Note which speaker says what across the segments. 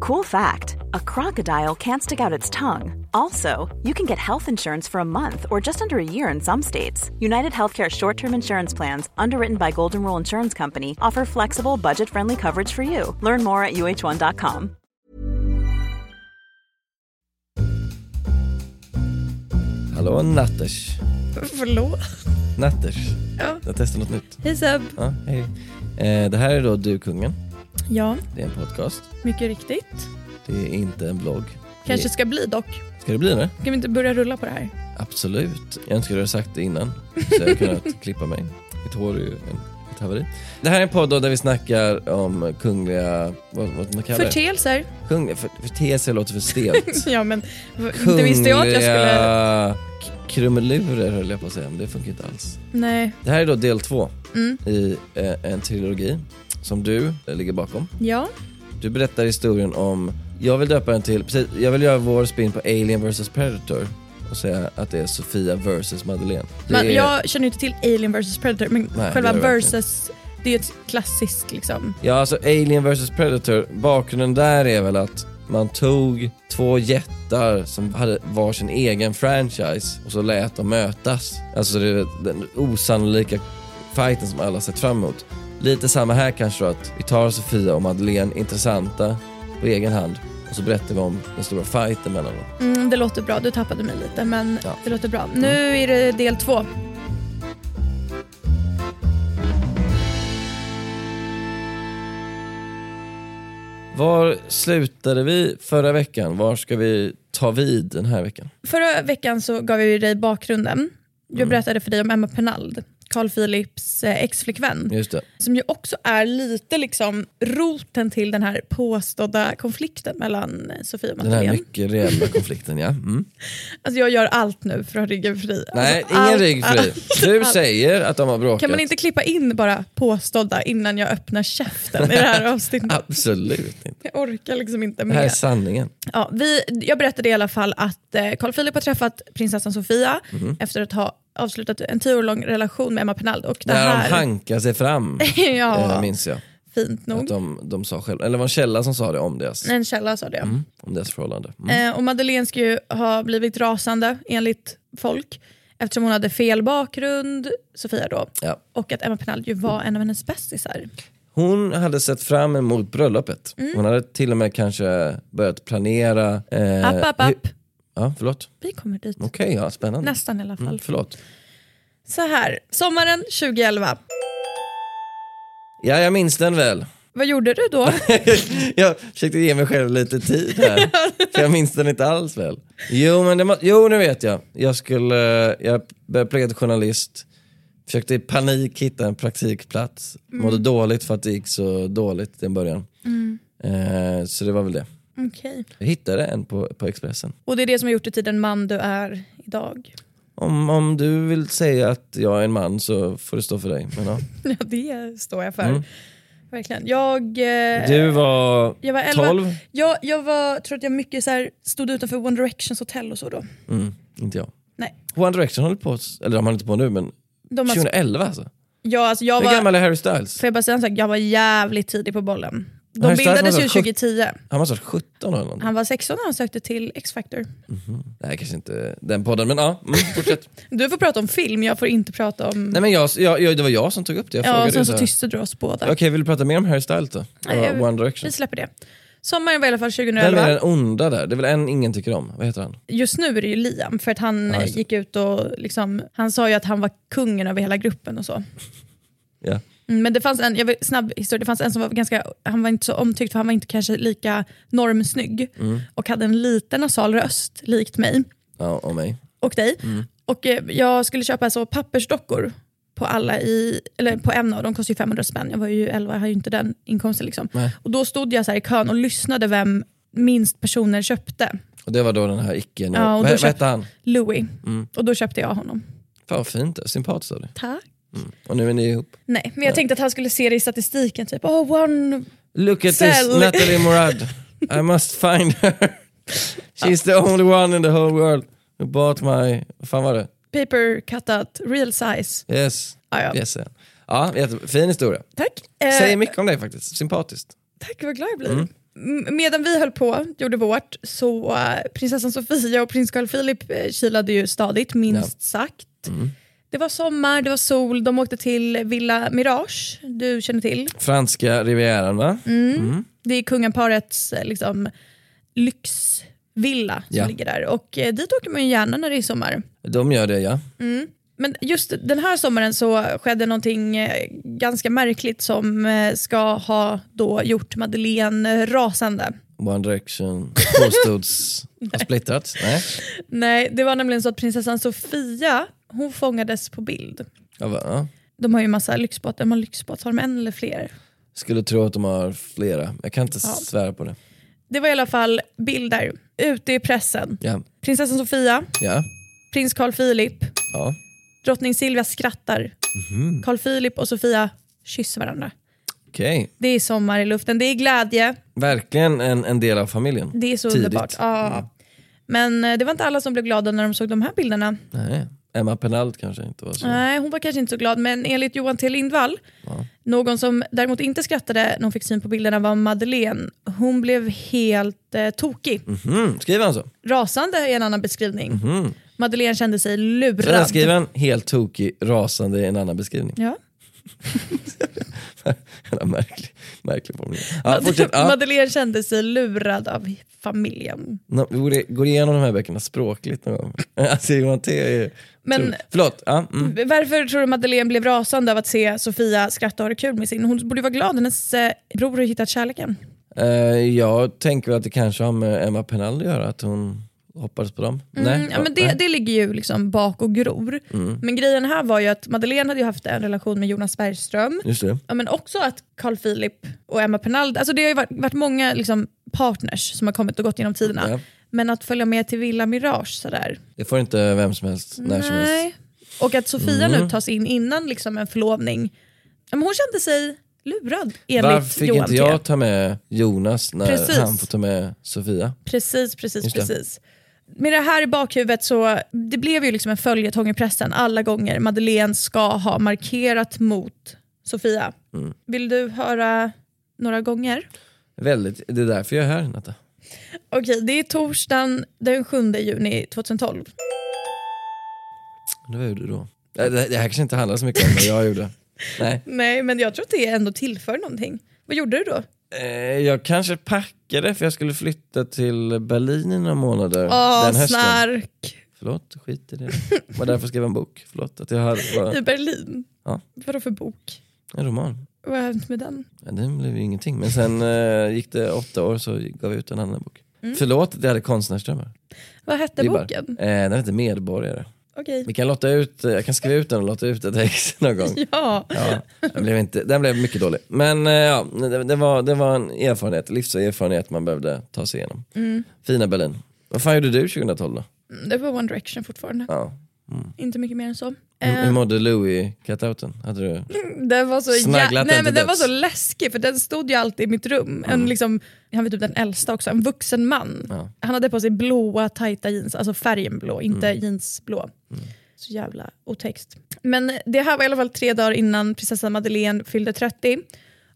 Speaker 1: Cool fact a crocodile can't stick out its tongue. Also, you can get health insurance for a month or just under a year in some states. United Healthcare short term insurance plans, underwritten by Golden Rule Insurance Company, offer flexible, budget friendly coverage for you. Learn more at uh1.com.
Speaker 2: Hallå Natters.
Speaker 3: Förlåt.
Speaker 2: Natters.
Speaker 3: Ja.
Speaker 2: Jag testar något nytt.
Speaker 3: Hej Seb.
Speaker 2: Ja, hej. Eh, det här är då Du Kungen.
Speaker 3: Ja,
Speaker 2: Det är en podcast.
Speaker 3: mycket riktigt.
Speaker 2: Det är inte en blogg.
Speaker 3: Kanske
Speaker 2: Det-
Speaker 3: ska bli dock.
Speaker 2: Ska det bli det?
Speaker 3: Ska vi inte börja rulla på det här?
Speaker 2: Absolut. Jag önskar du hade sagt det innan. Så jag hade kunnat klippa mig. Mitt hår är ju en, ett haveri. Det här är en podd då där vi snackar om kungliga... Vad, vad man kallar det?
Speaker 3: Förteelser.
Speaker 2: Kungliga... För, förteelse låter för stelt.
Speaker 3: Ja, men v- inte visste jag att jag skulle...
Speaker 2: Kungliga k- krumelurer höll jag på att säga, men det funkar inte alls.
Speaker 3: Nej.
Speaker 2: Det här är då del två
Speaker 3: Mm.
Speaker 2: i eh, en trilogi som du eh, ligger bakom.
Speaker 3: Ja.
Speaker 2: Du berättar historien om, jag vill döpa den till, precis, jag vill göra vår spin på Alien vs Predator och säga att det är Sofia vs Madeleine. Det
Speaker 3: Man,
Speaker 2: är,
Speaker 3: Jag känner ju inte till Alien vs Predator, men
Speaker 2: det
Speaker 3: själva
Speaker 2: gör jag verkligen.
Speaker 3: versus, det är ju ett klassiskt liksom.
Speaker 2: Ja alltså Alien vs Predator, bakgrunden där är väl att man tog två jättar som hade var sin egen franchise och så lät dem mötas. Alltså det är den osannolika fighten som alla sett fram emot. Lite samma här kanske då, att vi tar Sofia och Madeleine, intressanta, på egen hand och så berättar vi om den stora fighten mellan dem.
Speaker 3: Mm, det låter bra, du tappade mig lite men
Speaker 2: Ja. Mm.
Speaker 3: det låter bra. Nu är det del två.
Speaker 2: Var slutade vi förra veckan? Var ska vi ta vid den här veckan?
Speaker 3: Förra veckan så gav jag ju dig bakgrunden. Jag
Speaker 2: Mm.
Speaker 3: berättade för dig om Emma Penald, Carl Philips eh, ex-flickvän.
Speaker 2: Just det.
Speaker 3: som ju också är lite liksom roten till den här påstådda konflikten mellan Sofia och
Speaker 2: Den här
Speaker 3: Madeleine.
Speaker 2: mycket reella konflikten ja. Mm.
Speaker 3: Alltså jag gör allt nu för att ha ryggen fri.
Speaker 2: Nej,
Speaker 3: alltså,
Speaker 2: ingen
Speaker 3: allt,
Speaker 2: rygg fri.
Speaker 3: allt,
Speaker 2: Du
Speaker 3: allt.
Speaker 2: säger att de har bråkat.
Speaker 3: Kan man inte klippa in bara påstådda innan jag öppnar käften i det här avsnittet?
Speaker 2: Absolut inte.
Speaker 3: Jag orkar liksom inte
Speaker 2: Det här är
Speaker 3: med.
Speaker 2: sanningen.
Speaker 3: Ja, vi, jag berättade i alla fall att eh, Carl Philip har träffat prinsessan Sofia
Speaker 2: Mhm.
Speaker 3: efter att ha avslutat en tio år lång relation med Emma Penald. Och det
Speaker 2: När
Speaker 3: här,
Speaker 2: de hankar sig fram, eh,
Speaker 3: ja,
Speaker 2: minns jag.
Speaker 3: fint
Speaker 2: Att
Speaker 3: nog.
Speaker 2: de, de sa själva, eller det var en källa som sa det om deras,
Speaker 3: En källa sa det.
Speaker 2: Mm. om deras förhållande. Mm.
Speaker 3: Eh, och Madeleine ska ju ha blivit rasande enligt folk eftersom hon hade fel bakgrund, Sofia då,
Speaker 2: Ja.
Speaker 3: och att Emma Penald ju var en av hennes bästisar.
Speaker 2: Hon hade sett fram emot bröllopet.
Speaker 3: Mm.
Speaker 2: Hon hade till och med kanske börjat planera... Eh,
Speaker 3: App, app, app.
Speaker 2: hur- Ja, förlåt.
Speaker 3: Vi kommer dit.
Speaker 2: Okej, ja, spännande.
Speaker 3: Nästan i alla fall.
Speaker 2: Mm, förlåt.
Speaker 3: Så här, sommaren 2011.
Speaker 2: Ja, jag minns den väl.
Speaker 3: Vad gjorde du då?
Speaker 2: jag försökte ge mig själv lite tid här. för jag minns den inte alls väl. Jo, men det må- jo, nu vet jag. Jag, skulle, jag började plugga till journalist. Försökte i panik hitta en praktikplats.
Speaker 3: Mm.
Speaker 2: Mådde dåligt för att det gick så dåligt i början. Eh, så det var väl det.
Speaker 3: Okej.
Speaker 2: Jag hittade en på, på Expressen.
Speaker 3: Och det är det som har gjort dig till den man du är idag.
Speaker 2: Om, om du vill säga att jag är en man så får det stå för dig. Men, ja.
Speaker 3: Ja, det står jag för. Verkligen. Jag... Eh,
Speaker 2: Mm. Du var,
Speaker 3: Jag var 11.
Speaker 2: 12?
Speaker 3: Jag, jag var, tror att jag mycket så här, stod utanför One Directions hotell och så då.
Speaker 2: Mm, inte jag.
Speaker 3: Nej.
Speaker 2: One Direction håller på, eller de håller inte på nu men
Speaker 3: De har,
Speaker 2: 2011 alltså.
Speaker 3: ja, alltså jag
Speaker 2: Hur
Speaker 3: var,
Speaker 2: gammal är Harry Styles?
Speaker 3: Får jag bara säga en sak? Jag var jävligt tidig på bollen. De
Speaker 2: Harry Styles
Speaker 3: bildades
Speaker 2: var
Speaker 3: ju
Speaker 2: så
Speaker 3: 2010.
Speaker 2: Han måste ha varit 17 eller någonting.
Speaker 3: Han var 16 när han sökte till X-Factor.
Speaker 2: Nej kanske inte den podden men ja, mm, fortsätt.
Speaker 3: Du får prata om film, jag får inte prata om...
Speaker 2: Nej men jag, jag, jag, det var jag som tog upp det, jag
Speaker 3: ja,
Speaker 2: frågade
Speaker 3: sen
Speaker 2: ju
Speaker 3: så
Speaker 2: här.
Speaker 3: tystar du oss båda.
Speaker 2: Okej, vill du prata mer om Harry Styles då?
Speaker 3: Nej,
Speaker 2: Och
Speaker 3: jag-
Speaker 2: One
Speaker 3: Vi
Speaker 2: Direction.
Speaker 3: släpper det. Sommaren var i alla fall
Speaker 2: Vem
Speaker 3: 2011.
Speaker 2: är den onda där? Det är väl en ingen tycker om? Vad heter han?
Speaker 3: Just nu är det ju Liam, för att han
Speaker 2: Ja,
Speaker 3: eh,
Speaker 2: just det.
Speaker 3: gick ut och liksom, han sa ju att han var kungen över hela gruppen och så.
Speaker 2: Ja.
Speaker 3: Mm, Men det fanns en, jag vill, snabb historia, det fanns en som var ganska, han var inte så omtyckt för han var inte kanske lika normsnygg
Speaker 2: Mm.
Speaker 3: och hade en liten nasal röst, likt mig.
Speaker 2: Ja, och mig.
Speaker 3: och dig. Och eh, jag skulle köpa så pappersdockor på alla i, eller på en av dem, kostar ju 500 spänn. Jag var ju 11, jag hade ju inte den inkomsten. Liksom.
Speaker 2: Nej.
Speaker 3: Och då stod jag så här i kön och lyssnade vem minst personer köpte.
Speaker 2: Och det var då den här icke
Speaker 3: Ja, och
Speaker 2: vad,
Speaker 3: då
Speaker 2: vad
Speaker 3: köpte-
Speaker 2: hette han? Mm.
Speaker 3: Louis. Och då köpte jag honom.
Speaker 2: Fan vad fint, sympatiskt av dig. Mm.
Speaker 3: Tack.
Speaker 2: Och nu är ni ihop.
Speaker 3: Nej, men jag tänkte att han skulle se det i statistiken. Typ, oh, one...
Speaker 2: Look at this
Speaker 3: Sälj.
Speaker 2: Natalie Morad. I must find her. She's the only one in the whole world who bought my, vad fan var det?
Speaker 3: Paper cut out, real size.
Speaker 2: Yes.
Speaker 3: Ah, ja.
Speaker 2: Yes, yeah. Ja, jätte- fin historia.
Speaker 3: Tack. Eh,
Speaker 2: Säger mycket om dig faktiskt, sympatiskt.
Speaker 3: tack, vad glad jag blir. m- medan vi höll på, gjorde vårt, så eh, prinsessan Sofia och prins Carl Philip eh, kilade ju stadigt, minst sagt. Det var sommar, det var sol, de åkte till Villa Mirage, du känner till.
Speaker 2: Franska rivieran va?
Speaker 3: Det är kungaparets eh, liksom, lyxvilla som
Speaker 2: Ja.
Speaker 3: ligger där och eh, dit åker man ju gärna när det är sommar.
Speaker 2: De gör det ja.
Speaker 3: Men just den här sommaren så skedde någonting eh, ganska märkligt som eh, ska ha då gjort Madeleine rasande.
Speaker 2: One Direction påstods ha splittrats. Nej.
Speaker 3: Nej, det var nämligen så att prinsessan Sofia, hon fångades på bild.
Speaker 2: Jag bara, ja.
Speaker 3: De har ju massa lyxbåtar, de har lyxbåt, har de en eller fler?
Speaker 2: Skulle tro att de har flera. Jag kan inte svära på det.
Speaker 3: Det var i alla fall bilder ute i pressen.
Speaker 2: Ja.
Speaker 3: Prinsessan Sofia,
Speaker 2: Ja.
Speaker 3: prins Carl Philip,
Speaker 2: ja.
Speaker 3: drottning Silvia skrattar. Carl Philip och Sofia kysser varandra.
Speaker 2: Okej.
Speaker 3: Det är sommar i luften, det är glädje,
Speaker 2: Verkligen en, en del av familjen.
Speaker 3: det är så
Speaker 2: Tidigt.
Speaker 3: underbart. Ja. Men eh, det var inte alla som blev glada när de såg de här bilderna.
Speaker 2: Nej. Emma Penalt kanske inte var så.
Speaker 3: Nej, hon var kanske inte så glad, men enligt Johan T Lindvall, någon som däremot inte skrattade när hon fick syn på bilderna var Madeleine. Hon blev helt eh, tokig.
Speaker 2: Mhm, Skriver han så?
Speaker 3: Rasande är en annan beskrivning.
Speaker 2: Mhm.
Speaker 3: Madeleine kände sig
Speaker 2: Så där
Speaker 3: lurad.
Speaker 2: skriver han helt tokig, rasande i en annan beskrivning.
Speaker 3: Ja.
Speaker 2: Jävla märklig, märklig formulering. Ja, fortsätt. Ja.
Speaker 3: Madeleine kände sig lurad av familjen.
Speaker 2: Nå, Vi borde gå igenom de här böckerna språkligt någon gång. Alltså Johan T är ju...
Speaker 3: Men-
Speaker 2: Förlåt. Ja, mm.
Speaker 3: Varför tror du Madeleine blev rasande av att se Sofia skratta och ha det kul med sin? Hon borde vara glad, hennes eh, bror har hittat kärleken.
Speaker 2: Eh, jag tänker väl att det kanske har med Emma Penal att göra, att hon hoppades på dem.
Speaker 3: Mm, ja, men det, det ligger ju liksom bak och gror.
Speaker 2: Mm.
Speaker 3: Men grejen här var ju att Madeleine hade ju haft en relation med Jonas Bergström.
Speaker 2: Just det.
Speaker 3: Ja, men också att Carl Philip och Emma Penald, alltså det har ju varit, varit många liksom, partners som har kommit och gått genom tiderna.
Speaker 2: Ja.
Speaker 3: Men att följa med till Villa Mirage sådär.
Speaker 2: Det får inte vem som helst, när som helst. Mm.
Speaker 3: Nej. Och att Sofia nu tas in innan liksom, en förlovning. Ja, men hon kände sig lurad enligt
Speaker 2: Varför fick
Speaker 3: Johan
Speaker 2: inte
Speaker 3: T.
Speaker 2: jag ta med Jonas när
Speaker 3: Precis.
Speaker 2: han får ta med Sofia?
Speaker 3: Precis, precis,
Speaker 2: Just det.
Speaker 3: precis. Med det här i bakhuvudet så det blev ju liksom en följetong i pressen alla gånger Madeleine ska ha markerat mot Sofia.
Speaker 2: Mm.
Speaker 3: Vill du höra några gånger?
Speaker 2: Väldigt, det är därför jag är här Natta.
Speaker 3: Okej, det är torsdagen den 7 juni 2012.
Speaker 2: Det var jag gjorde då. Det, det det här kanske inte handlar så mycket om vad jag gjorde. Nej.
Speaker 3: Nej, men jag tror att det ändå tillför någonting. Vad gjorde du då?
Speaker 2: Eh, Jag kanske packade för jag skulle flytta till Berlin i några månader
Speaker 3: Åh,
Speaker 2: den hösten.
Speaker 3: snark
Speaker 2: Förlåt, skit i det. Var därför jag skrev en bok. Förlåt att jag hade bara
Speaker 3: i Berlin.
Speaker 2: Ja.
Speaker 3: Vadå för bok?
Speaker 2: en roman.
Speaker 3: Vad har hänt med den?
Speaker 2: Ja, det blev ju ingenting. Men sen eh, gick det åtta år så gav jag ut en annan bok. Förlåt att jag hade konstnärsdrömmar.
Speaker 3: Vad hette
Speaker 2: Det är bara-
Speaker 3: Mm. boken?
Speaker 2: Eh, den heter Medborgare.
Speaker 3: Okej.
Speaker 2: Vi kan lotta ut, eh, jag kan skriva ut den och lotta ut ett ex någon gång.
Speaker 3: Ja.
Speaker 2: Ja, den, blev inte, den blev mycket dålig. Men eh, ja, det, det, var, det var en erfarenhet, livserfarenhet man behövde ta sig igenom. Fina Berlin. Vad fan gjorde du 2012 då?
Speaker 3: Mm, Det var One Direction fortfarande.
Speaker 2: Ja.
Speaker 3: Inte mycket mer än så.
Speaker 2: Hur,
Speaker 3: Eh,
Speaker 2: hur mådde Louis cutouten? Hade du...
Speaker 3: Den var så,
Speaker 2: Snagglat
Speaker 3: jä-
Speaker 2: den
Speaker 3: nej,
Speaker 2: till
Speaker 3: men den var
Speaker 2: döds.
Speaker 3: så läskig för den stod ju alltid i mitt rum. En, liksom, han var typ den äldsta också, en vuxen man.
Speaker 2: Ja.
Speaker 3: Han hade på sig blåa tajta jeans, alltså färgen blå, inte jeansblå. Så jävla otext. Men det här var i alla fall tre dagar innan prinsessan Madeleine fyllde 30.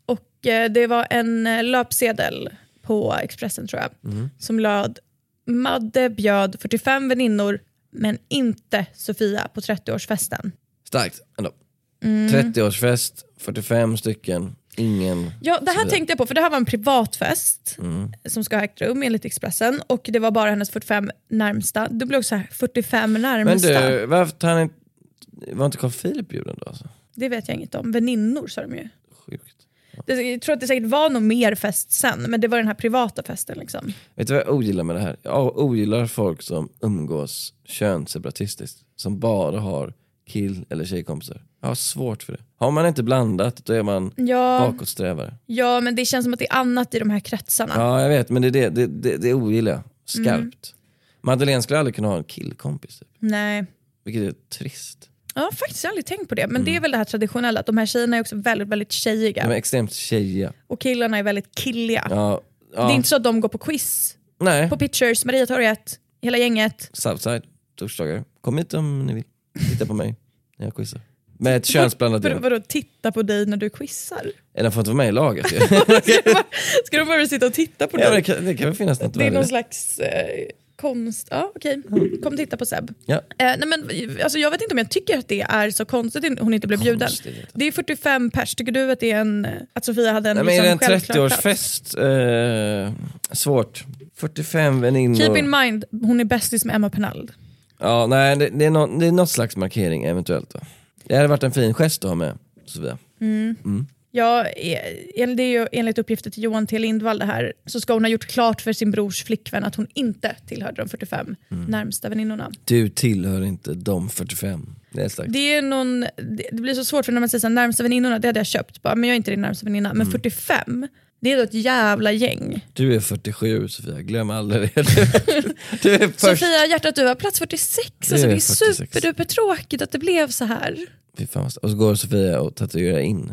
Speaker 3: Och eh, det var en eh, löpsedel på Expressen tror jag, som löd Madde bjöd 45 väninnor men inte Sofia på Mm. 30-årsfesten.
Speaker 2: Starkt ändå. 30-årsfest, 45 stycken, ingen. Mm.
Speaker 3: Ja, det här
Speaker 2: Sofia.
Speaker 3: tänkte jag på, för det här var en privatfest som ska ha ägt rum enligt Expressen och det var bara hennes 45 närmsta. Det blev också så här 45
Speaker 2: Men
Speaker 3: närmsta.
Speaker 2: du, varför tar han inte... Var inte Carl Philip bjuden då? Alltså?
Speaker 3: Det vet jag inget om. Väninnor sa de ju.
Speaker 2: Sjukt.
Speaker 3: Det, jag tror att det säkert var någon mer fest sen, men det var den här privata festen. Liksom.
Speaker 2: Vet du vad jag ogillar med det här? Jag ogillar folk som umgås könsseparatistiskt. Som bara har kill eller tjejkompisar. Jag har svårt för det. Har man inte blandat, då är man
Speaker 3: Ja,
Speaker 2: bakåtsträvare.
Speaker 3: ja, men det känns som att det är annat i de här kretsarna.
Speaker 2: Ja, jag vet, men det, är det, det, det, det ogillar jag.
Speaker 3: Mm.
Speaker 2: Skarpt. Madeleine skulle aldrig kunna ha en killkompis, typ.
Speaker 3: Nej.
Speaker 2: vilket är trist.
Speaker 3: Ja, faktiskt, jag har aldrig tänkt på det. Men det
Speaker 2: Mm.
Speaker 3: är väl det här traditionella, att de här tjejerna är också väldigt, väldigt tjejiga.
Speaker 2: De är extremt tjejiga.
Speaker 3: Och killarna är väldigt killiga.
Speaker 2: Ja, ja.
Speaker 3: Det är inte så att de går på quiz,
Speaker 2: Nej,
Speaker 3: på pictures, Mariatorget, hela gänget.
Speaker 2: Southside, torsdagar. Kom hit om ni vill. Titta på mig när jag quizar. Med ett könsblandat
Speaker 3: Vadå,
Speaker 2: gäng.
Speaker 3: vadå, titta på dig när du quizar?
Speaker 2: Eh, Den får inte vara med i laget ju.
Speaker 3: Ska de bara sitta och titta på
Speaker 2: ja, det,
Speaker 3: dig?
Speaker 2: kan, det kan väl finnas något
Speaker 3: Det är
Speaker 2: värde i
Speaker 3: någon slags eh, konst... Ja, okej. Kom titta på Seb.
Speaker 2: Ja.
Speaker 3: Eh, nej men, alltså, jag vet inte om jag tycker att det är så konstigt att hon inte blev bjuden.
Speaker 2: Konstigt, vet
Speaker 3: Det är 45 pers. Tycker du att, det är en, att Sofia hade en, liksom
Speaker 2: Nej, men är det en
Speaker 3: självklar plats?
Speaker 2: 30-årsfest? Eh, svårt. 45 väninnor.
Speaker 3: Keep in mind, hon är bästis med Emma Penald.
Speaker 2: Ja, nej, det, det, är någon, det är något slags markering eventuellt. Då. Det hade varit en fin gest att ha med Sofia.
Speaker 3: Ja, eh, en- det är ju enligt uppgifter till Johan T Lindvall det här, så ska hon ha gjort klart för sin brors flickvän att hon inte tillhörde de 45
Speaker 2: Mm.
Speaker 3: närmsta väninnorna.
Speaker 2: Du tillhör inte de 45. Det är ett slags.
Speaker 3: Det, är någon, det det blir så svårt för när man säger så här, närmsta väninnorna, det hade jag köpt, bara, men jag är inte din närmsta väninna.
Speaker 2: Mm.
Speaker 3: Men 45, det är då ett jävla gäng.
Speaker 2: Du är 47 Sofia, glöm aldrig det. Du- Du är först.
Speaker 3: Sofia, hjärtat du var plats 46, det alltså,
Speaker 2: är
Speaker 3: det är
Speaker 2: 46.
Speaker 3: superduper tråkigt att det blev så här.
Speaker 2: Fy fan, vad- och så går Sofia och tatuerar in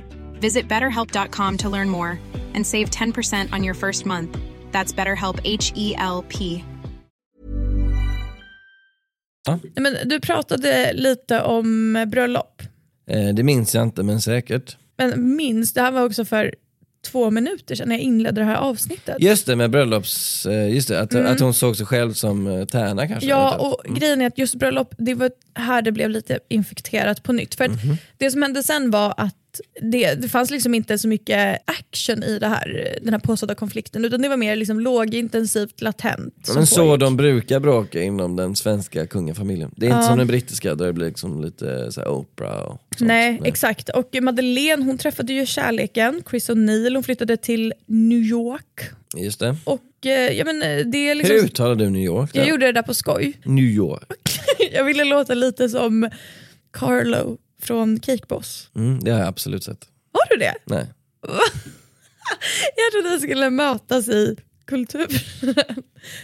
Speaker 4: Visit betterhelp.com to learn more and save 10% on your first month. That's BetterHelp H E L P.
Speaker 3: Nej, Men du pratade lite om eh, bröllop,
Speaker 2: Eh, det minns jag inte, men säkert.
Speaker 3: men minns, det här var också för två minuter sedan när jag inledde det här avsnittet.
Speaker 2: Just det, med bröllops... eh, Just det, att, att hon såg sig själv som eh, tärna kanske.
Speaker 3: Mm. Ja,
Speaker 2: eventuellt.
Speaker 3: och grejen är att just bröllop, det var här det blev lite infekterat på nytt. För att
Speaker 2: Mhm.
Speaker 3: det som hände sen var att det, det fanns liksom inte så mycket action i det här, den här påstådda konflikten, utan det var mer liksom lågintensivt, latent. som
Speaker 2: Men så
Speaker 3: pågick.
Speaker 2: de brukar bråka inom den svenska kungafamiljen. Det är inte som den brittiska där det blir liksom lite så här Oprah och sånt.
Speaker 3: Nej, exakt. Och Madeleine hon träffade ju kärleken, Chris O'Neill, hon flyttade till New York.
Speaker 2: Just det.
Speaker 3: Och eh, ja, men eh, det är liksom...
Speaker 2: Hur uttalar du New York?
Speaker 3: Jag
Speaker 2: då?
Speaker 3: gjorde det där på skoj.
Speaker 2: New York.
Speaker 3: Jag ville låta lite som Carlo från Cake Boss.
Speaker 2: Mm, det har jag absolut sett.
Speaker 3: Har du det?
Speaker 2: Nej.
Speaker 3: Jag trodde att vi skulle mötas i kulturen.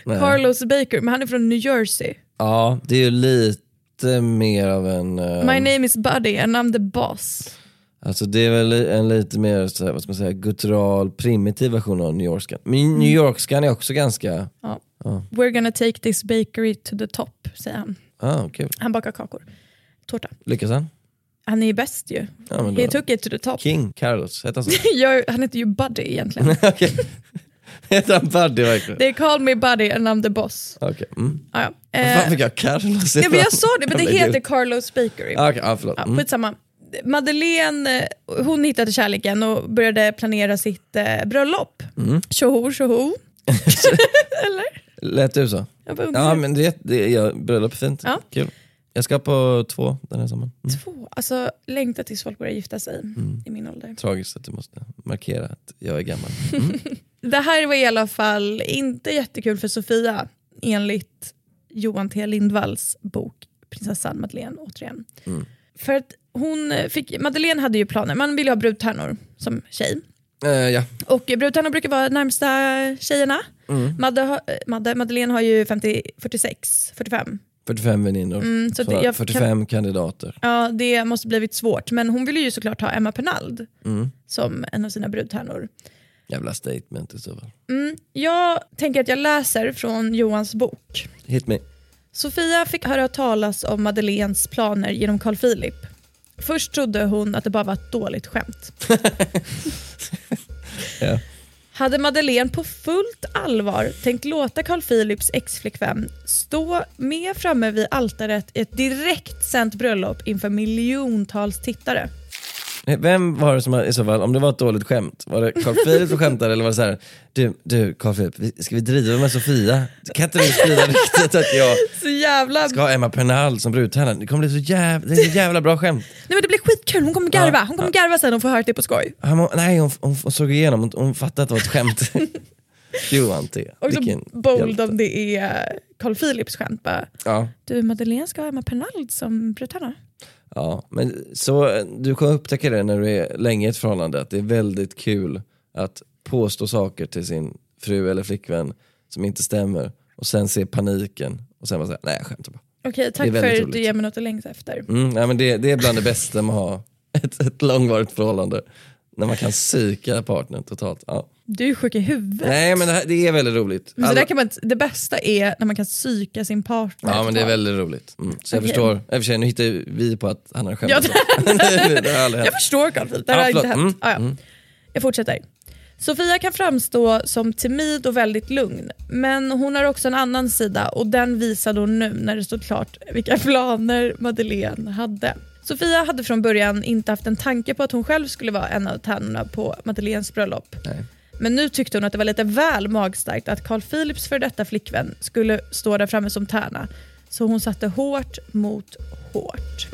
Speaker 2: Nej.
Speaker 3: Carlos Baker, men han är från New Jersey.
Speaker 2: Ja, det är ju lite mer av en... eh,
Speaker 3: My name is Buddy and I'm the boss.
Speaker 2: Alltså det är väl en lite mer så här, vad ska man säga, guttural, primitiv version av New Yorkskan. Men New Yorkskan är också ganska...
Speaker 3: Ja. We're gonna take this bakery to the top, säger han.
Speaker 2: Ah, kul.
Speaker 3: Han bakar kakor. Tårta.
Speaker 2: Lyckas han?
Speaker 3: Han är ju bäst ju.
Speaker 2: Ja, men då-
Speaker 3: He took it to the top.
Speaker 2: King Carlos, heter han så?
Speaker 3: Jag, han heter ju Buddy egentligen.
Speaker 2: Okej. Heter han Buddy verkligen?
Speaker 3: They call me Buddy and I'm the boss.
Speaker 2: Okej. Mm.
Speaker 3: Ja, ja.
Speaker 2: Vad fan
Speaker 3: Eh,
Speaker 2: fick jag Carlos
Speaker 3: ja, men jag sa det, men det heter Carlos Bakery.
Speaker 2: Ah, Okej, ah, förlåt.
Speaker 3: Ja,
Speaker 2: Mm.
Speaker 3: Skitsamma. Madeleine eh, hon hittade kärleken och började planera sitt eh, bröllop.
Speaker 2: Mm.
Speaker 3: Tjoho, tjoho.
Speaker 2: Lät du så?
Speaker 3: Jag bara undrar.
Speaker 2: Ja, men det, det ja, bröllop är fint.
Speaker 3: Ja.
Speaker 2: Kul. Jag ska på två den här sommaren. Mm.
Speaker 3: Två. Alltså, längtar tills folk börjar gifta sig i min ålder.
Speaker 2: Tragiskt att du måste markera att jag är gammal.
Speaker 3: Det här var i alla fall inte jättekul för Sofia enligt Johan T Lindvalls bok Prinsessan Madeleine återigen.
Speaker 2: Mm.
Speaker 3: För att hon eh, fick, Madeleine hade ju planer, man vill ju ha brudtärnor som tjej.
Speaker 2: Eh, ja.
Speaker 3: Och brudtärnor brukar vara närmsta tjejerna. Madde, har- eh, Madde, Madeleine har ju 50, 46, 45.
Speaker 2: 45 väninnor.
Speaker 3: Mm, så
Speaker 2: Så
Speaker 3: det- jag
Speaker 2: 45 kandidater.
Speaker 3: Ja, det måste blivit svårt. Men hon ville ju såklart ha Emma Pernald som en av sina brudtärnor.
Speaker 2: Jävla statement i så fall.
Speaker 3: Jag tänker att jag läser från Johans bok.
Speaker 2: Hit me.
Speaker 3: Sofia fick höra talas om Madeleines planer genom Carl Philip. Först trodde hon att det bara var ett dåligt skämt.
Speaker 2: Ja.
Speaker 3: Hade Madeleine på fullt allvar tänkt låta Carl Philips exflickvän stå med framme vid altaret i ett direkt sänt bröllop inför miljontals tittare?
Speaker 2: Eh, Vem var det som i så fall, om det var ett dåligt skämt, var det Carl Philip som skämtade eller var det så här, du, du Carl Philip, vi- ska vi driva med Sofia? Kan inte du sprida ryktet att jag
Speaker 3: Så jävla...
Speaker 2: ska ha Emma Pernal som brudtärnan? Det kommer bli så jävla, det är så jävla bra skämt.
Speaker 3: Nej men det blir skitkul, hon kommer garva. Hon kommer garva sen och få höra att det är på skoj.
Speaker 2: Han, må- nej, hon, hon, hon såg igenom, hon, hon fattade att det var ett skämt. Johan T.
Speaker 3: Och så
Speaker 2: Vilken
Speaker 3: bold
Speaker 2: hjälte.
Speaker 3: om det är Carl Philips skämt bara.
Speaker 2: Ja,
Speaker 3: Du Madeleine ska ha Emma Pernald som brudtärna.
Speaker 2: ja. Men så, eh, du kommer upptäcka det när du är länge i ett förhållande, att det är väldigt kul att påstå saker till sin fru eller flickvän som inte stämmer och sen se paniken och sen bara säga nej jag skämtar bara.
Speaker 3: Okej, tack
Speaker 2: väldigt
Speaker 3: för att
Speaker 2: roligt.
Speaker 3: du ger mig något att längta efter.
Speaker 2: Mm, nej, men det, det är bland det bästa med att ha ett, ett långvarigt förhållande. När man kan psyka partnern totalt. Ja.
Speaker 3: Du är sjuk i huvudet.
Speaker 2: Nej men det, här, det är väldigt roligt.
Speaker 3: Men så
Speaker 2: Alla-
Speaker 3: där kan man, inte- det bästa är när man kan psyka sin partner.
Speaker 2: Ja men det är
Speaker 3: totalt.
Speaker 2: väldigt roligt. Mm. Så jag
Speaker 3: Okej.
Speaker 2: förstår, i och för sig nu hittar ju vi på att han har
Speaker 3: Ja,
Speaker 2: skämtat. det, det har aldrig hänt.
Speaker 3: Jag förstår Carl Philip, det här
Speaker 2: Ja,
Speaker 3: har inte
Speaker 2: förlåt.
Speaker 3: hänt.
Speaker 2: Mm,
Speaker 3: Ah, ja. Jag fortsätter. Sofia kan framstå som timid och väldigt lugn, men hon har också en annan sida och den visade hon nu när det stod klart vilka planer Madeleine hade. Sofia hade från början inte haft en tanke på att hon själv skulle vara en av tärnorna på Madeleines bröllop. Men nu tyckte hon att det var lite väl magstarkt att Carl Philips för detta flickvän skulle stå där framme som tärna. Så hon satte hårt mot hårt.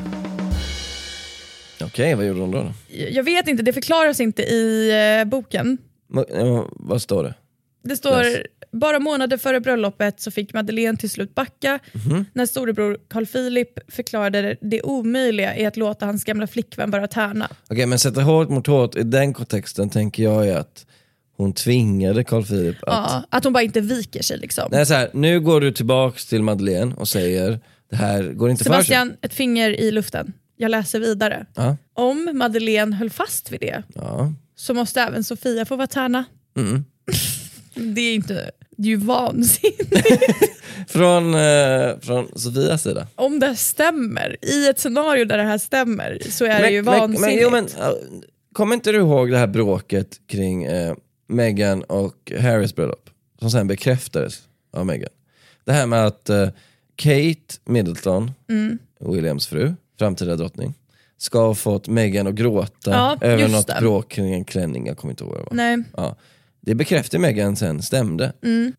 Speaker 2: Okej, vad gjorde hon då? då?
Speaker 3: Jag vet inte, det förklaras inte i eh, boken.
Speaker 2: Ma- ja, vad står det?
Speaker 3: Det står
Speaker 2: Yes.
Speaker 3: bara månader före bröllopet så fick Madeleine till slut backa
Speaker 2: Mhm.
Speaker 3: när storebror Carl Philip förklarade det omöjliga i att låta hans gamla flickvän vara tärna.
Speaker 2: Okej men sätta hårt mot hårt, i den kontexten tänker jag är att hon tvingade Carl Philip att...
Speaker 3: Ja, att hon bara inte viker sig liksom.
Speaker 2: Nej, så här, nu går du tillbaks till Madeleine och säger det här går inte för sig.
Speaker 3: Sebastian, ett finger i luften. Jag läser vidare.
Speaker 2: Ja.
Speaker 3: Om Madeleine höll fast vid det
Speaker 2: Ja. Mm.
Speaker 3: så måste även Sofia få vara tärna. det är inte... Det är ju vansinnigt.
Speaker 2: Från, eh, från Sofias sida.
Speaker 3: Om det här stämmer, i ett scenario där det här stämmer, så är det ju vansinnigt.
Speaker 2: Men, jo, men, äh, kommer inte du ihåg det här bråket kring eh, Meghan och Harrys bröllop? Som sen bekräftades av Meghan. Det här med att eh, Kate Middleton,
Speaker 3: Mm.
Speaker 2: Williams fru, framtida drottning, ska ha fått Meghan att gråta
Speaker 3: Ja,
Speaker 2: över
Speaker 3: just
Speaker 2: något
Speaker 3: det.
Speaker 2: bråk kring en klänning, jag kommer inte ihåg vad det var.
Speaker 3: Nej.
Speaker 2: Ja. Det bekräftar Meghan sen stämde.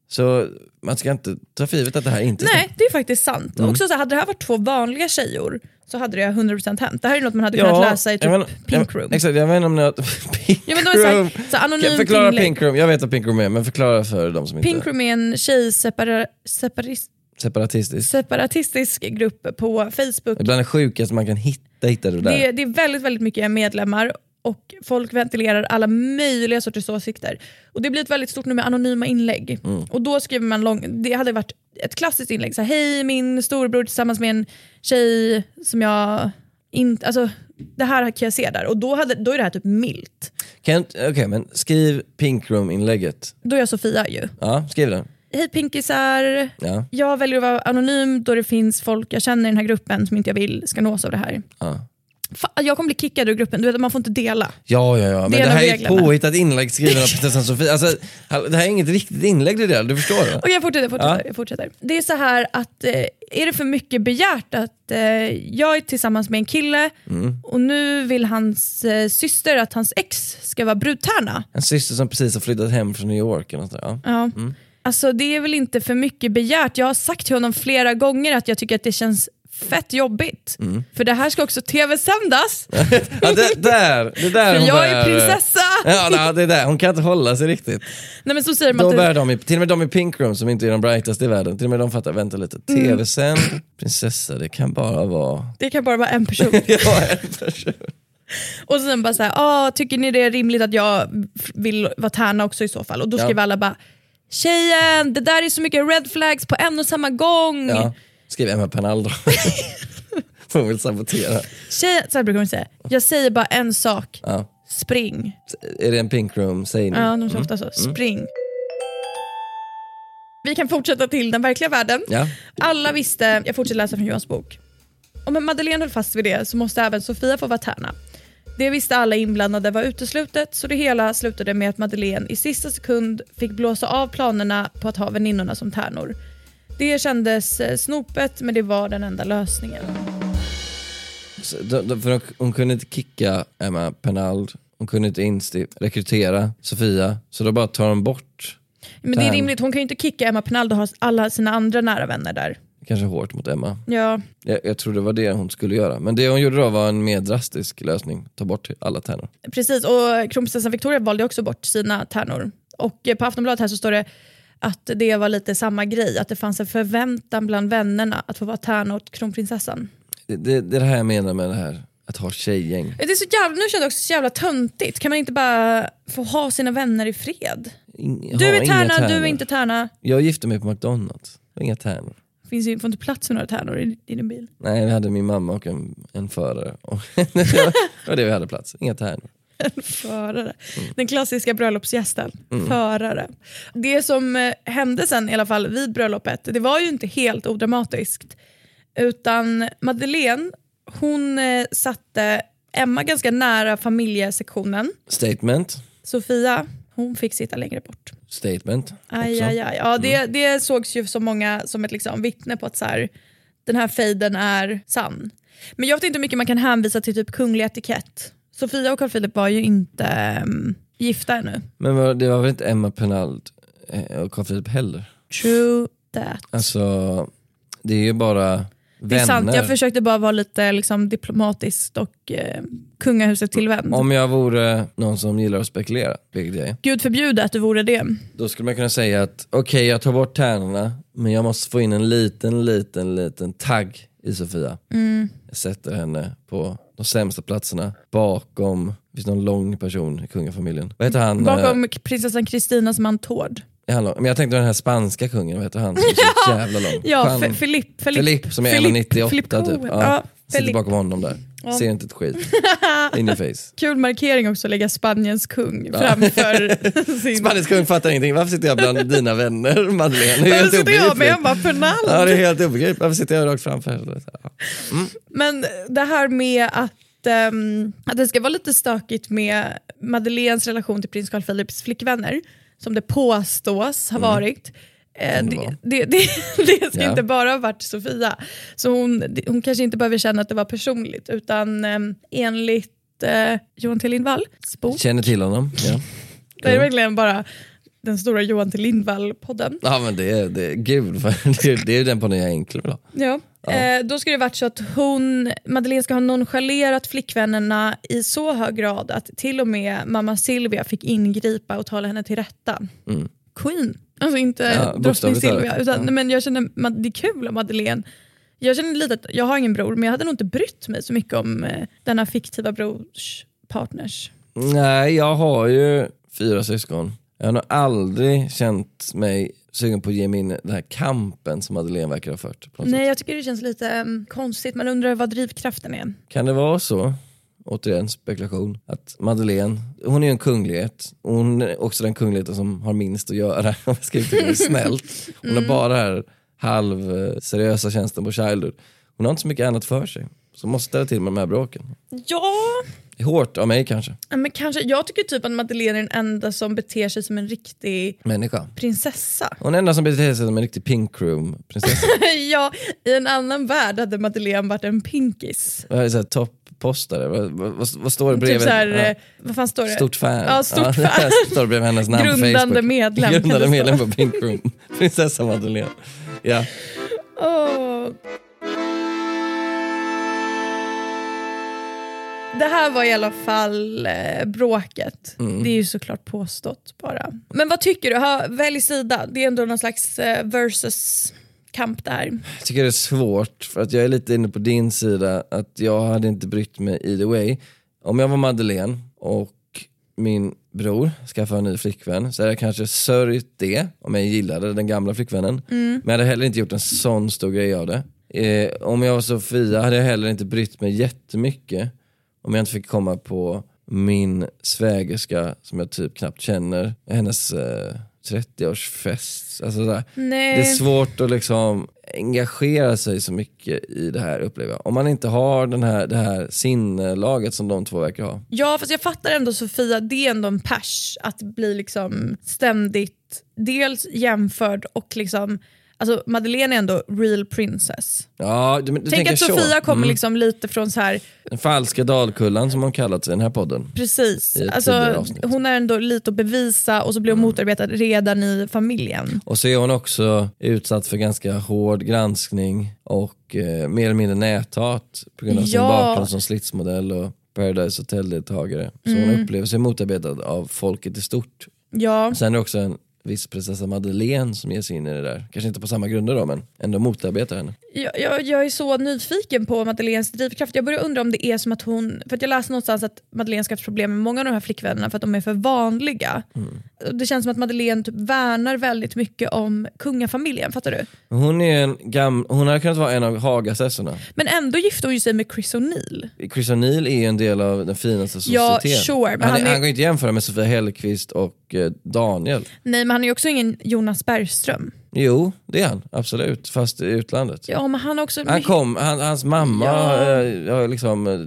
Speaker 2: Så man ska inte ta för givet att det här inte stämmer.
Speaker 3: Mm. Nej, det är faktiskt sant.
Speaker 2: Mm.
Speaker 3: Och Också så här, hade det här varit två vanliga tjejor så hade det 100% hänt. Det här är något man hade kunnat läsa i typ
Speaker 2: jag vet-
Speaker 3: Pink
Speaker 2: jag,
Speaker 3: Room.
Speaker 2: Exakt, jag vet inte om ni har... Pink
Speaker 3: Ja, men då är det så här,
Speaker 2: Room.
Speaker 3: så här, anonym
Speaker 2: Kan- förklara
Speaker 3: inlägg.
Speaker 2: Pink Room, jag vet vad Pink Room är, men förklara för de som
Speaker 3: Pink
Speaker 2: inte...
Speaker 3: Room är en tjejseparatistisk separis,
Speaker 2: Separatistisk.
Speaker 3: separatistisk grupp på Facebook.
Speaker 2: Det är bland det sjukaste man kan hitta, hittar du där.
Speaker 3: Det, det är väldigt, väldigt mycket medlemmar och folk ventilerar alla möjliga sorters åsikter. Och det blir ett väldigt stort nummer anonyma inlägg.
Speaker 2: Mm.
Speaker 3: Och då skriver man lång, det hade varit ett klassiskt inlägg, så här, hej min storbror tillsammans med en tjej som jag inte, alltså det här kan jag se där. Och då, hade, då är det här typ milt.
Speaker 2: Kan, Okej, men skriv Pink Room-inlägget.
Speaker 3: Då är jag Sofia ju.
Speaker 2: Ja, skriv den.
Speaker 3: Hej pinkisar,
Speaker 2: Ja.
Speaker 3: jag väljer att vara anonym då det finns folk jag känner i den här gruppen som inte jag vill ska nås av det här.
Speaker 2: Ja,
Speaker 3: Fa- jag kommer bli kickad ur gruppen, du vet man får inte dela.
Speaker 2: ja, ja. ja. Men
Speaker 3: Det är
Speaker 2: det,
Speaker 3: en av
Speaker 2: här är ett
Speaker 3: reglerna.
Speaker 2: påhittat inlägg skrivet av prinsessan Sofia. Alltså, hall- det här är inget riktigt inlägg det där, du förstår va?
Speaker 3: Okej, jag fortsätter. Jag fortsätter,
Speaker 2: Ja.
Speaker 3: jag fortsätter. Det är så här att eh, är det för mycket begärt att eh, jag är tillsammans med en kille
Speaker 2: Mm.
Speaker 3: och nu vill hans eh, syster att hans ex ska vara brudtärna?
Speaker 2: En syster som precis har flyttat hem från New York eller något där. Ja.
Speaker 3: Ja. Alltså det är väl inte för mycket begärt. Jag har sagt till honom flera gånger att jag tycker att det känns fett jobbigt. För det här ska också tv-sändas,
Speaker 2: Mm. Ja, det där! Det där
Speaker 3: för
Speaker 2: hon
Speaker 3: jag är
Speaker 2: börjar-
Speaker 3: prinsessa.
Speaker 2: Ja, nej, det där. Hon kan inte hålla sig riktigt.
Speaker 3: Nej, men så säger man
Speaker 2: Då
Speaker 3: typ,
Speaker 2: bär de, i- till och med de i Pink Room som inte är de brightaste i världen, till och med de fattar, vänta lite, tv-sänd prinsessa, det kan bara vara...
Speaker 3: det kan bara vara en person.
Speaker 2: Ja, en person.
Speaker 3: Och sen bara såhär, ah, tycker ni det är rimligt att jag f- vill vara tärna också i så fall? Och då skriver alla bara, tjejen det där är så mycket red flags på en och samma gång.
Speaker 2: Ja. Skriv Emma Pernal då. Hon vill sabotera.
Speaker 3: Tjejen, så här brukar hon säga, jag säger bara en sak, spring.
Speaker 2: Är det en Pink Room, säg nu.
Speaker 3: Ja, de sa ofta så,
Speaker 2: Mm.
Speaker 3: spring. Vi kan fortsätta till den verkliga världen.
Speaker 2: Ja.
Speaker 3: Alla visste, jag fortsätter läsa från Johans bok. Om Madeleine höll fast vid det så måste även Sofia få vara tärna. Det visste alla inblandade var uteslutet så det hela slutade med att Madeleine i sista sekund fick blåsa av planerna på att ha väninnorna som tärnor. Det kändes eh, snopet men det var den enda lösningen.
Speaker 2: Så de, de, för de, hon kunde inte kicka Emma Penald, hon kunde inte insti- rekrytera Sofia, så då bara tar de bort,
Speaker 3: Men det är
Speaker 2: Damn.
Speaker 3: rimligt, hon kan ju inte kicka Emma Penaldo och ha alla sina andra nära vänner där.
Speaker 2: kanske hårt mot Emma.
Speaker 3: Ja,
Speaker 2: Jag, jag tror det var det hon skulle göra. Men det hon gjorde då var en mer drastisk lösning, ta bort alla tärnor.
Speaker 3: precis. Och kronprinsessan Victoria valde också bort sina tärnor. Och eh, på Aftonbladet här så står det att det var lite samma grej, att det fanns en förväntan bland vännerna att få vara tärna åt kronprinsessan.
Speaker 2: Det, det, det är det här jag menar med det här, att ha tjejgäng.
Speaker 3: Det är så jävla, nu känner jag också så jävla töntigt, kan man inte bara få ha sina vänner i fred?
Speaker 2: Ing-
Speaker 3: Du
Speaker 2: ha
Speaker 3: är
Speaker 2: inga
Speaker 3: tärna, du
Speaker 2: tärnor.
Speaker 3: är inte tärna.
Speaker 2: Jag gifte mig på McDonalds, Det var inga tärnor.
Speaker 3: Finns ju, får inte plats för några tärnor i, i din bil.
Speaker 2: Nej, vi hade min mamma och en, en förare. Och det var det vi hade plats, inga tärnor.
Speaker 3: Förare. Den klassiska bröllopsgästen. Förare. Det som eh, hände sen i alla fall vid bröllopet, det var ju inte helt odramatiskt. Utan Madeleine, hon eh, satte Emma ganska nära familjesektionen.
Speaker 2: Statement,
Speaker 3: Sofia, hon fick sitta längre bort.
Speaker 2: statement.
Speaker 3: Aj,
Speaker 2: också. Mm.
Speaker 3: aj, aj. Ja, det, det sågs ju så många som ett liksom, vittne på att så här, den här fejden är sann. Men jag vet inte hur mycket man kan hänvisa till typ kunglig etikett. Sofia och Carl Philip var ju inte ehm, gifta ännu.
Speaker 2: Men var, det var väl inte Emma Penald eh, och Carl Philip heller?
Speaker 3: True that.
Speaker 2: Alltså, det är ju bara
Speaker 3: Det är
Speaker 2: vänner.
Speaker 3: sant, jag försökte bara vara lite liksom, diplomatiskt och eh, kungahuset tillvänd.
Speaker 2: Om jag vore någon som gillar att spekulera, vilket jag är,
Speaker 3: Gud förbjude att det vore det.
Speaker 2: då skulle man kunna säga att okej, jag tar bort tärnorna, men jag måste få in en liten, liten, liten tagg i Sofia.
Speaker 3: Mm.
Speaker 2: Jag sätter henne på de sämsta platserna, bakom, finns det någon lång person i kungafamiljen? Vad heter han? Eh,
Speaker 3: Bakom prinsessan Kristinas man Tord.
Speaker 2: Är han lång? Men jag tänkte den här spanska kungen, vad heter han? Som är så jävla lång.
Speaker 3: Ja,
Speaker 2: Fan.
Speaker 3: Fe- Filipp.
Speaker 2: Filipp som är
Speaker 3: Filipp-
Speaker 2: 1,98
Speaker 3: Filipp
Speaker 2: typ.
Speaker 3: Cohen.
Speaker 2: Ja,
Speaker 3: Ja,
Speaker 2: sitter
Speaker 3: Filipp.
Speaker 2: bakom honom där. Ser inte ett skit. In your face.
Speaker 3: Kul markering också att lägga Spaniens kung framför sin...
Speaker 2: Spanisk kung fattar ingenting. Varför sitter jag bland dina vänner Madeleine? Det är
Speaker 3: Varför
Speaker 2: helt
Speaker 3: sitter jag Alltså, med
Speaker 2: obegripligt.
Speaker 3: Emma
Speaker 2: Ja, det är
Speaker 3: Fernald?
Speaker 2: helt obegripligt. Varför sitter jag rakt framför henne? Så här, ja.
Speaker 3: Men det här med att, ehm, att det ska vara lite stökigt med Madeleines relation till prins Carl Philips flickvänner, som det påstås har varit. eh,
Speaker 2: Som det
Speaker 3: Det,
Speaker 2: var.
Speaker 3: det, det, det ska
Speaker 2: Mm. Ja.
Speaker 3: inte bara ha varit Sofia. Så hon, hon kanske inte behöver känna att det var personligt utan ehm, enligt eh, Johan T Lindvalls bok
Speaker 2: Känner till honom. Ja,
Speaker 3: Det är verkligen bara den stora Johan till Lindvall-podden.
Speaker 2: ja men det är, det är gud. för Det är, det är den på jag enkel vill ha.
Speaker 3: Ja. Eh, då skulle det varit så att hon, Madeleine ska ha nonchalerat flickvännerna i så hög grad att till och med mamma Silvia fick ingripa och tala henne till rätta. Queen, alltså inte
Speaker 2: Mm. Ja,
Speaker 3: drottning
Speaker 2: bokstavligt talat.
Speaker 3: Silvia. Utan,
Speaker 2: Ja.
Speaker 3: men jag känner, ma- det är kul om Madeleine jag känner lite att jag har ingen bror, men jag hade nog inte brytt mig så mycket om eh, denna fiktiva brors partners.
Speaker 2: Nej, jag har ju fyra syskon. Jag har nog aldrig känt mig sugen på att ge mig in i den här kampen som Madeleine verkar ha fört. På något
Speaker 3: Nej, jag tycker det känns lite eh, konstigt. Man undrar vad drivkraften är.
Speaker 2: Kan det vara så, återigen spekulation, att Madeleine, hon är ju en kunglighet. Hon är också den kungligheten som har minst att göra, om jag ska uttrycka det snällt. Hon
Speaker 3: Mm.
Speaker 2: har bara den här halvseriösa tjänsten på Childhood. Hon har inte så mycket annat för sig. Så hon måste ställa till med de här bråken.
Speaker 3: Ja,
Speaker 2: Det är hårt av mig kanske,
Speaker 3: Ja, Men kanske, jag tycker typ att Madeleine är den enda som beter sig som en riktig
Speaker 2: människa.
Speaker 3: prinsessa.
Speaker 2: Hon är den enda som beter sig som en riktig pink room prinsessa.
Speaker 3: ja, I en annan värld hade Madeleine varit en pinkis.
Speaker 2: Vad är det, så här, Toppostare, vad, vad, vad, vad står det bredvid?
Speaker 3: Typ så här,
Speaker 2: Ja.
Speaker 3: eh, vad fan står det?
Speaker 2: Stort fan.
Speaker 3: Ja, stort
Speaker 2: det här
Speaker 3: fan.
Speaker 2: står bredvid hennes namn på
Speaker 3: Grundande
Speaker 2: Facebook.
Speaker 3: medlem, kan det
Speaker 2: Grundande
Speaker 3: stå.
Speaker 2: medlem på Pink Room. Prinsessa Madeleine. Ja.
Speaker 3: Åh. Det här var i alla fall eh, bråket.
Speaker 2: Mm.
Speaker 3: Det är ju såklart påstått bara. Men vad tycker du? Ha, välj sida. Det är ändå någon slags eh, versus-kamp där.
Speaker 2: Jag tycker det är svårt, för att jag är lite inne på din sida, att jag hade inte brytt mig either way. Om jag var Madeleine och min bror skaffade en ny flickvän så hade jag kanske sörjt det om jag gillade den gamla flickvännen. Men jag hade heller inte gjort en sån stor grej av det. Eh, om jag var Sofia hade jag heller inte brytt mig jättemycket om jag inte fick komma på min svägerska som jag typ knappt känner, hennes eh, 30-årsfest. Alltså sådär.
Speaker 3: Nej.
Speaker 2: Det är svårt att liksom engagera sig så mycket i det här upplever jag. Om man inte har den här, det här sinnelaget som de två verkar ha.
Speaker 3: Ja, fast jag fattar ändå Sofia, det är ändå en pers att bli liksom ständigt dels jämförd och liksom Alltså Madeleine är ändå real princess.
Speaker 2: Ja, du, men du
Speaker 3: Tänk
Speaker 2: tänker
Speaker 3: att Sofia
Speaker 2: så.
Speaker 3: kommer
Speaker 2: Mm.
Speaker 3: liksom lite från så här,
Speaker 2: Den falska dalkullan som hon kallats i den här podden.
Speaker 3: precis,
Speaker 2: I ett tidigare
Speaker 3: alltså,
Speaker 2: avsnitt. Mm.
Speaker 3: hon är ändå lite att bevisa och så blir hon motarbetad redan i familjen.
Speaker 2: Och så är hon också utsatt för ganska hård granskning och eh, mer eller mindre näthat på grund av sin
Speaker 3: Ja.
Speaker 2: bakgrund som slitsmodell och Paradise Hotel-deltagare. Så
Speaker 3: Mm.
Speaker 2: hon upplever sig motarbetad av folket i stort.
Speaker 3: Ja,
Speaker 2: Sen är det också en viss prinsessa Madeleine som ger sig in i det där. Kanske inte på samma grunder då men ändå motarbetar henne.
Speaker 3: jag, jag, jag är så nyfiken på Madeleines drivkraft. Jag börjar undra om det är som att hon, för att jag läste någonstans att Madeleine ska ha haft problem med många av de här flickvännerna för att de är för vanliga.
Speaker 2: Mm.
Speaker 3: Och Det känns som att Madeleine typ värnar väldigt mycket om kungafamiljen, fattar du?
Speaker 2: Hon är en gam- hon hade kunnat vara en av Hagasessorna.
Speaker 3: Men ändå gifte hon ju sig med Chris O'Neill.
Speaker 2: Chris O'Neill är ju en del av den finaste
Speaker 3: Ja,
Speaker 2: societeten.
Speaker 3: sure, men
Speaker 2: han,
Speaker 3: han
Speaker 2: är,
Speaker 3: är-
Speaker 2: han går inte att jämföra med Sofia Hellqvist och eh, Daniel.
Speaker 3: Nej men han är ju också ingen Jonas Bergström.
Speaker 2: Jo, det är han. Absolut. Fast i utlandet.
Speaker 3: Ja men han har också...
Speaker 2: Han kom, han, hans mamma
Speaker 3: Ja.
Speaker 2: eh, har liksom eh,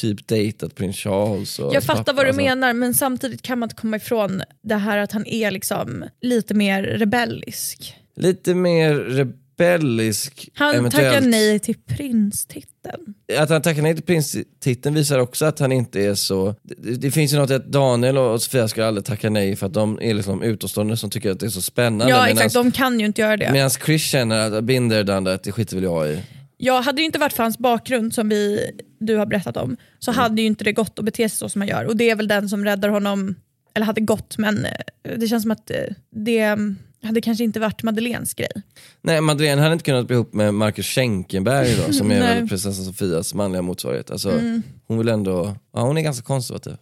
Speaker 2: typ dejtat prins Charles. Och
Speaker 3: jag
Speaker 2: hans
Speaker 3: fattar
Speaker 2: pappa,
Speaker 3: vad du
Speaker 2: alltså.
Speaker 3: menar men samtidigt kan man inte komma ifrån det här att han är liksom lite mer rebellisk.
Speaker 2: Lite mer rebellisk
Speaker 3: Han
Speaker 2: eventuellt.
Speaker 3: tackar nej till prinstiteln.
Speaker 2: Att han tackar nej till prinstiteln visar också att han inte är så... Det, det finns ju något i att Daniel och och Sofia skulle aldrig tacka nej för att de är liksom utomstående som tycker att det är så spännande.
Speaker 3: Ja
Speaker 2: medans-
Speaker 3: exakt, de kan ju inte göra det.
Speaker 2: Medan Chris känner att been there done that, det skiter väl jag i.
Speaker 3: Jag hade det ju inte varit för hans bakgrund som vi, du har berättat om så hade ju inte det gått att bete sig så som han gör. Och det är väl den som räddar honom, eller hade gått men eh, det känns som att eh, det mm, hade kanske inte varit Madeleines grej.
Speaker 2: Nej, Madeleine hade inte kunnat bli ihop med Marcus Schenkenberg då, som är
Speaker 3: Nej. Mm.
Speaker 2: väl prinsessan Sofias manliga motsvarighet. Alltså, Hon vill ändå, ja, hon är ganska konservativ.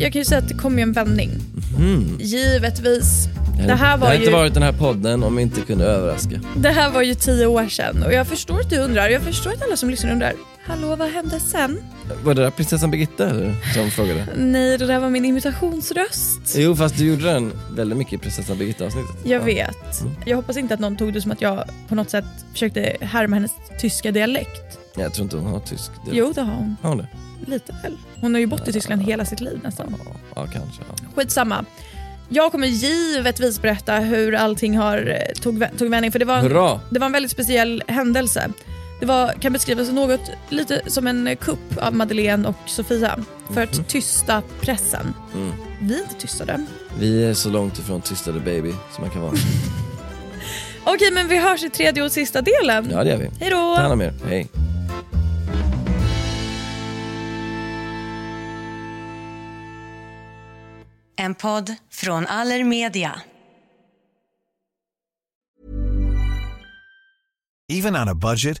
Speaker 3: Jag kan ju säga att det kom ju en vändning. Givetvis. Det här, var
Speaker 2: hade
Speaker 3: ju,
Speaker 2: inte varit den här podden om vi inte kunde överraska.
Speaker 3: det här var ju tio år sedan och jag förstår att du undrar, jag förstår att alla som lyssnar undrar, hallå vad hände sen?
Speaker 2: Var det där prinsessan Birgitta eller, som frågade?
Speaker 3: Nej, det där var min imitationsröst.
Speaker 2: Jo, fast du gjorde den väldigt mycket i prinsessan Birgitta-avsnittet.
Speaker 3: Jag
Speaker 2: Ja. Mm.
Speaker 3: vet. Jag hoppas inte att någon tog det som att jag på något sätt försökte härma hennes tyska dialekt.
Speaker 2: Nej, jag tror inte hon har tysk dialekt.
Speaker 3: Jo, det har hon.
Speaker 2: Har hon det?
Speaker 3: Lite väl. Hon har ju bott i Tyskland hela sitt liv nästan.
Speaker 2: Ja, kanske. Ja.
Speaker 3: Skitsamma. Jag kommer givetvis berätta hur allting har eh, tog, vä- tog vändning för det var, en,
Speaker 2: Hurra!
Speaker 3: det var en väldigt speciell händelse. Det var, kan beskrivas något lite som en eh, kupp av Madeleine och Sofia för
Speaker 2: Mhm.
Speaker 3: att tysta pressen.
Speaker 2: Mm.
Speaker 3: Vi är inte tystade.
Speaker 2: Vi är så långt ifrån tystade baby som man kan vara.
Speaker 3: Okej, men vi hörs i tredje och sista delen.
Speaker 2: Ja, det gör vi.
Speaker 3: Hej då!
Speaker 2: Ta hand om er. Hej.
Speaker 5: En podd från Allermedia.
Speaker 6: Even on a budget,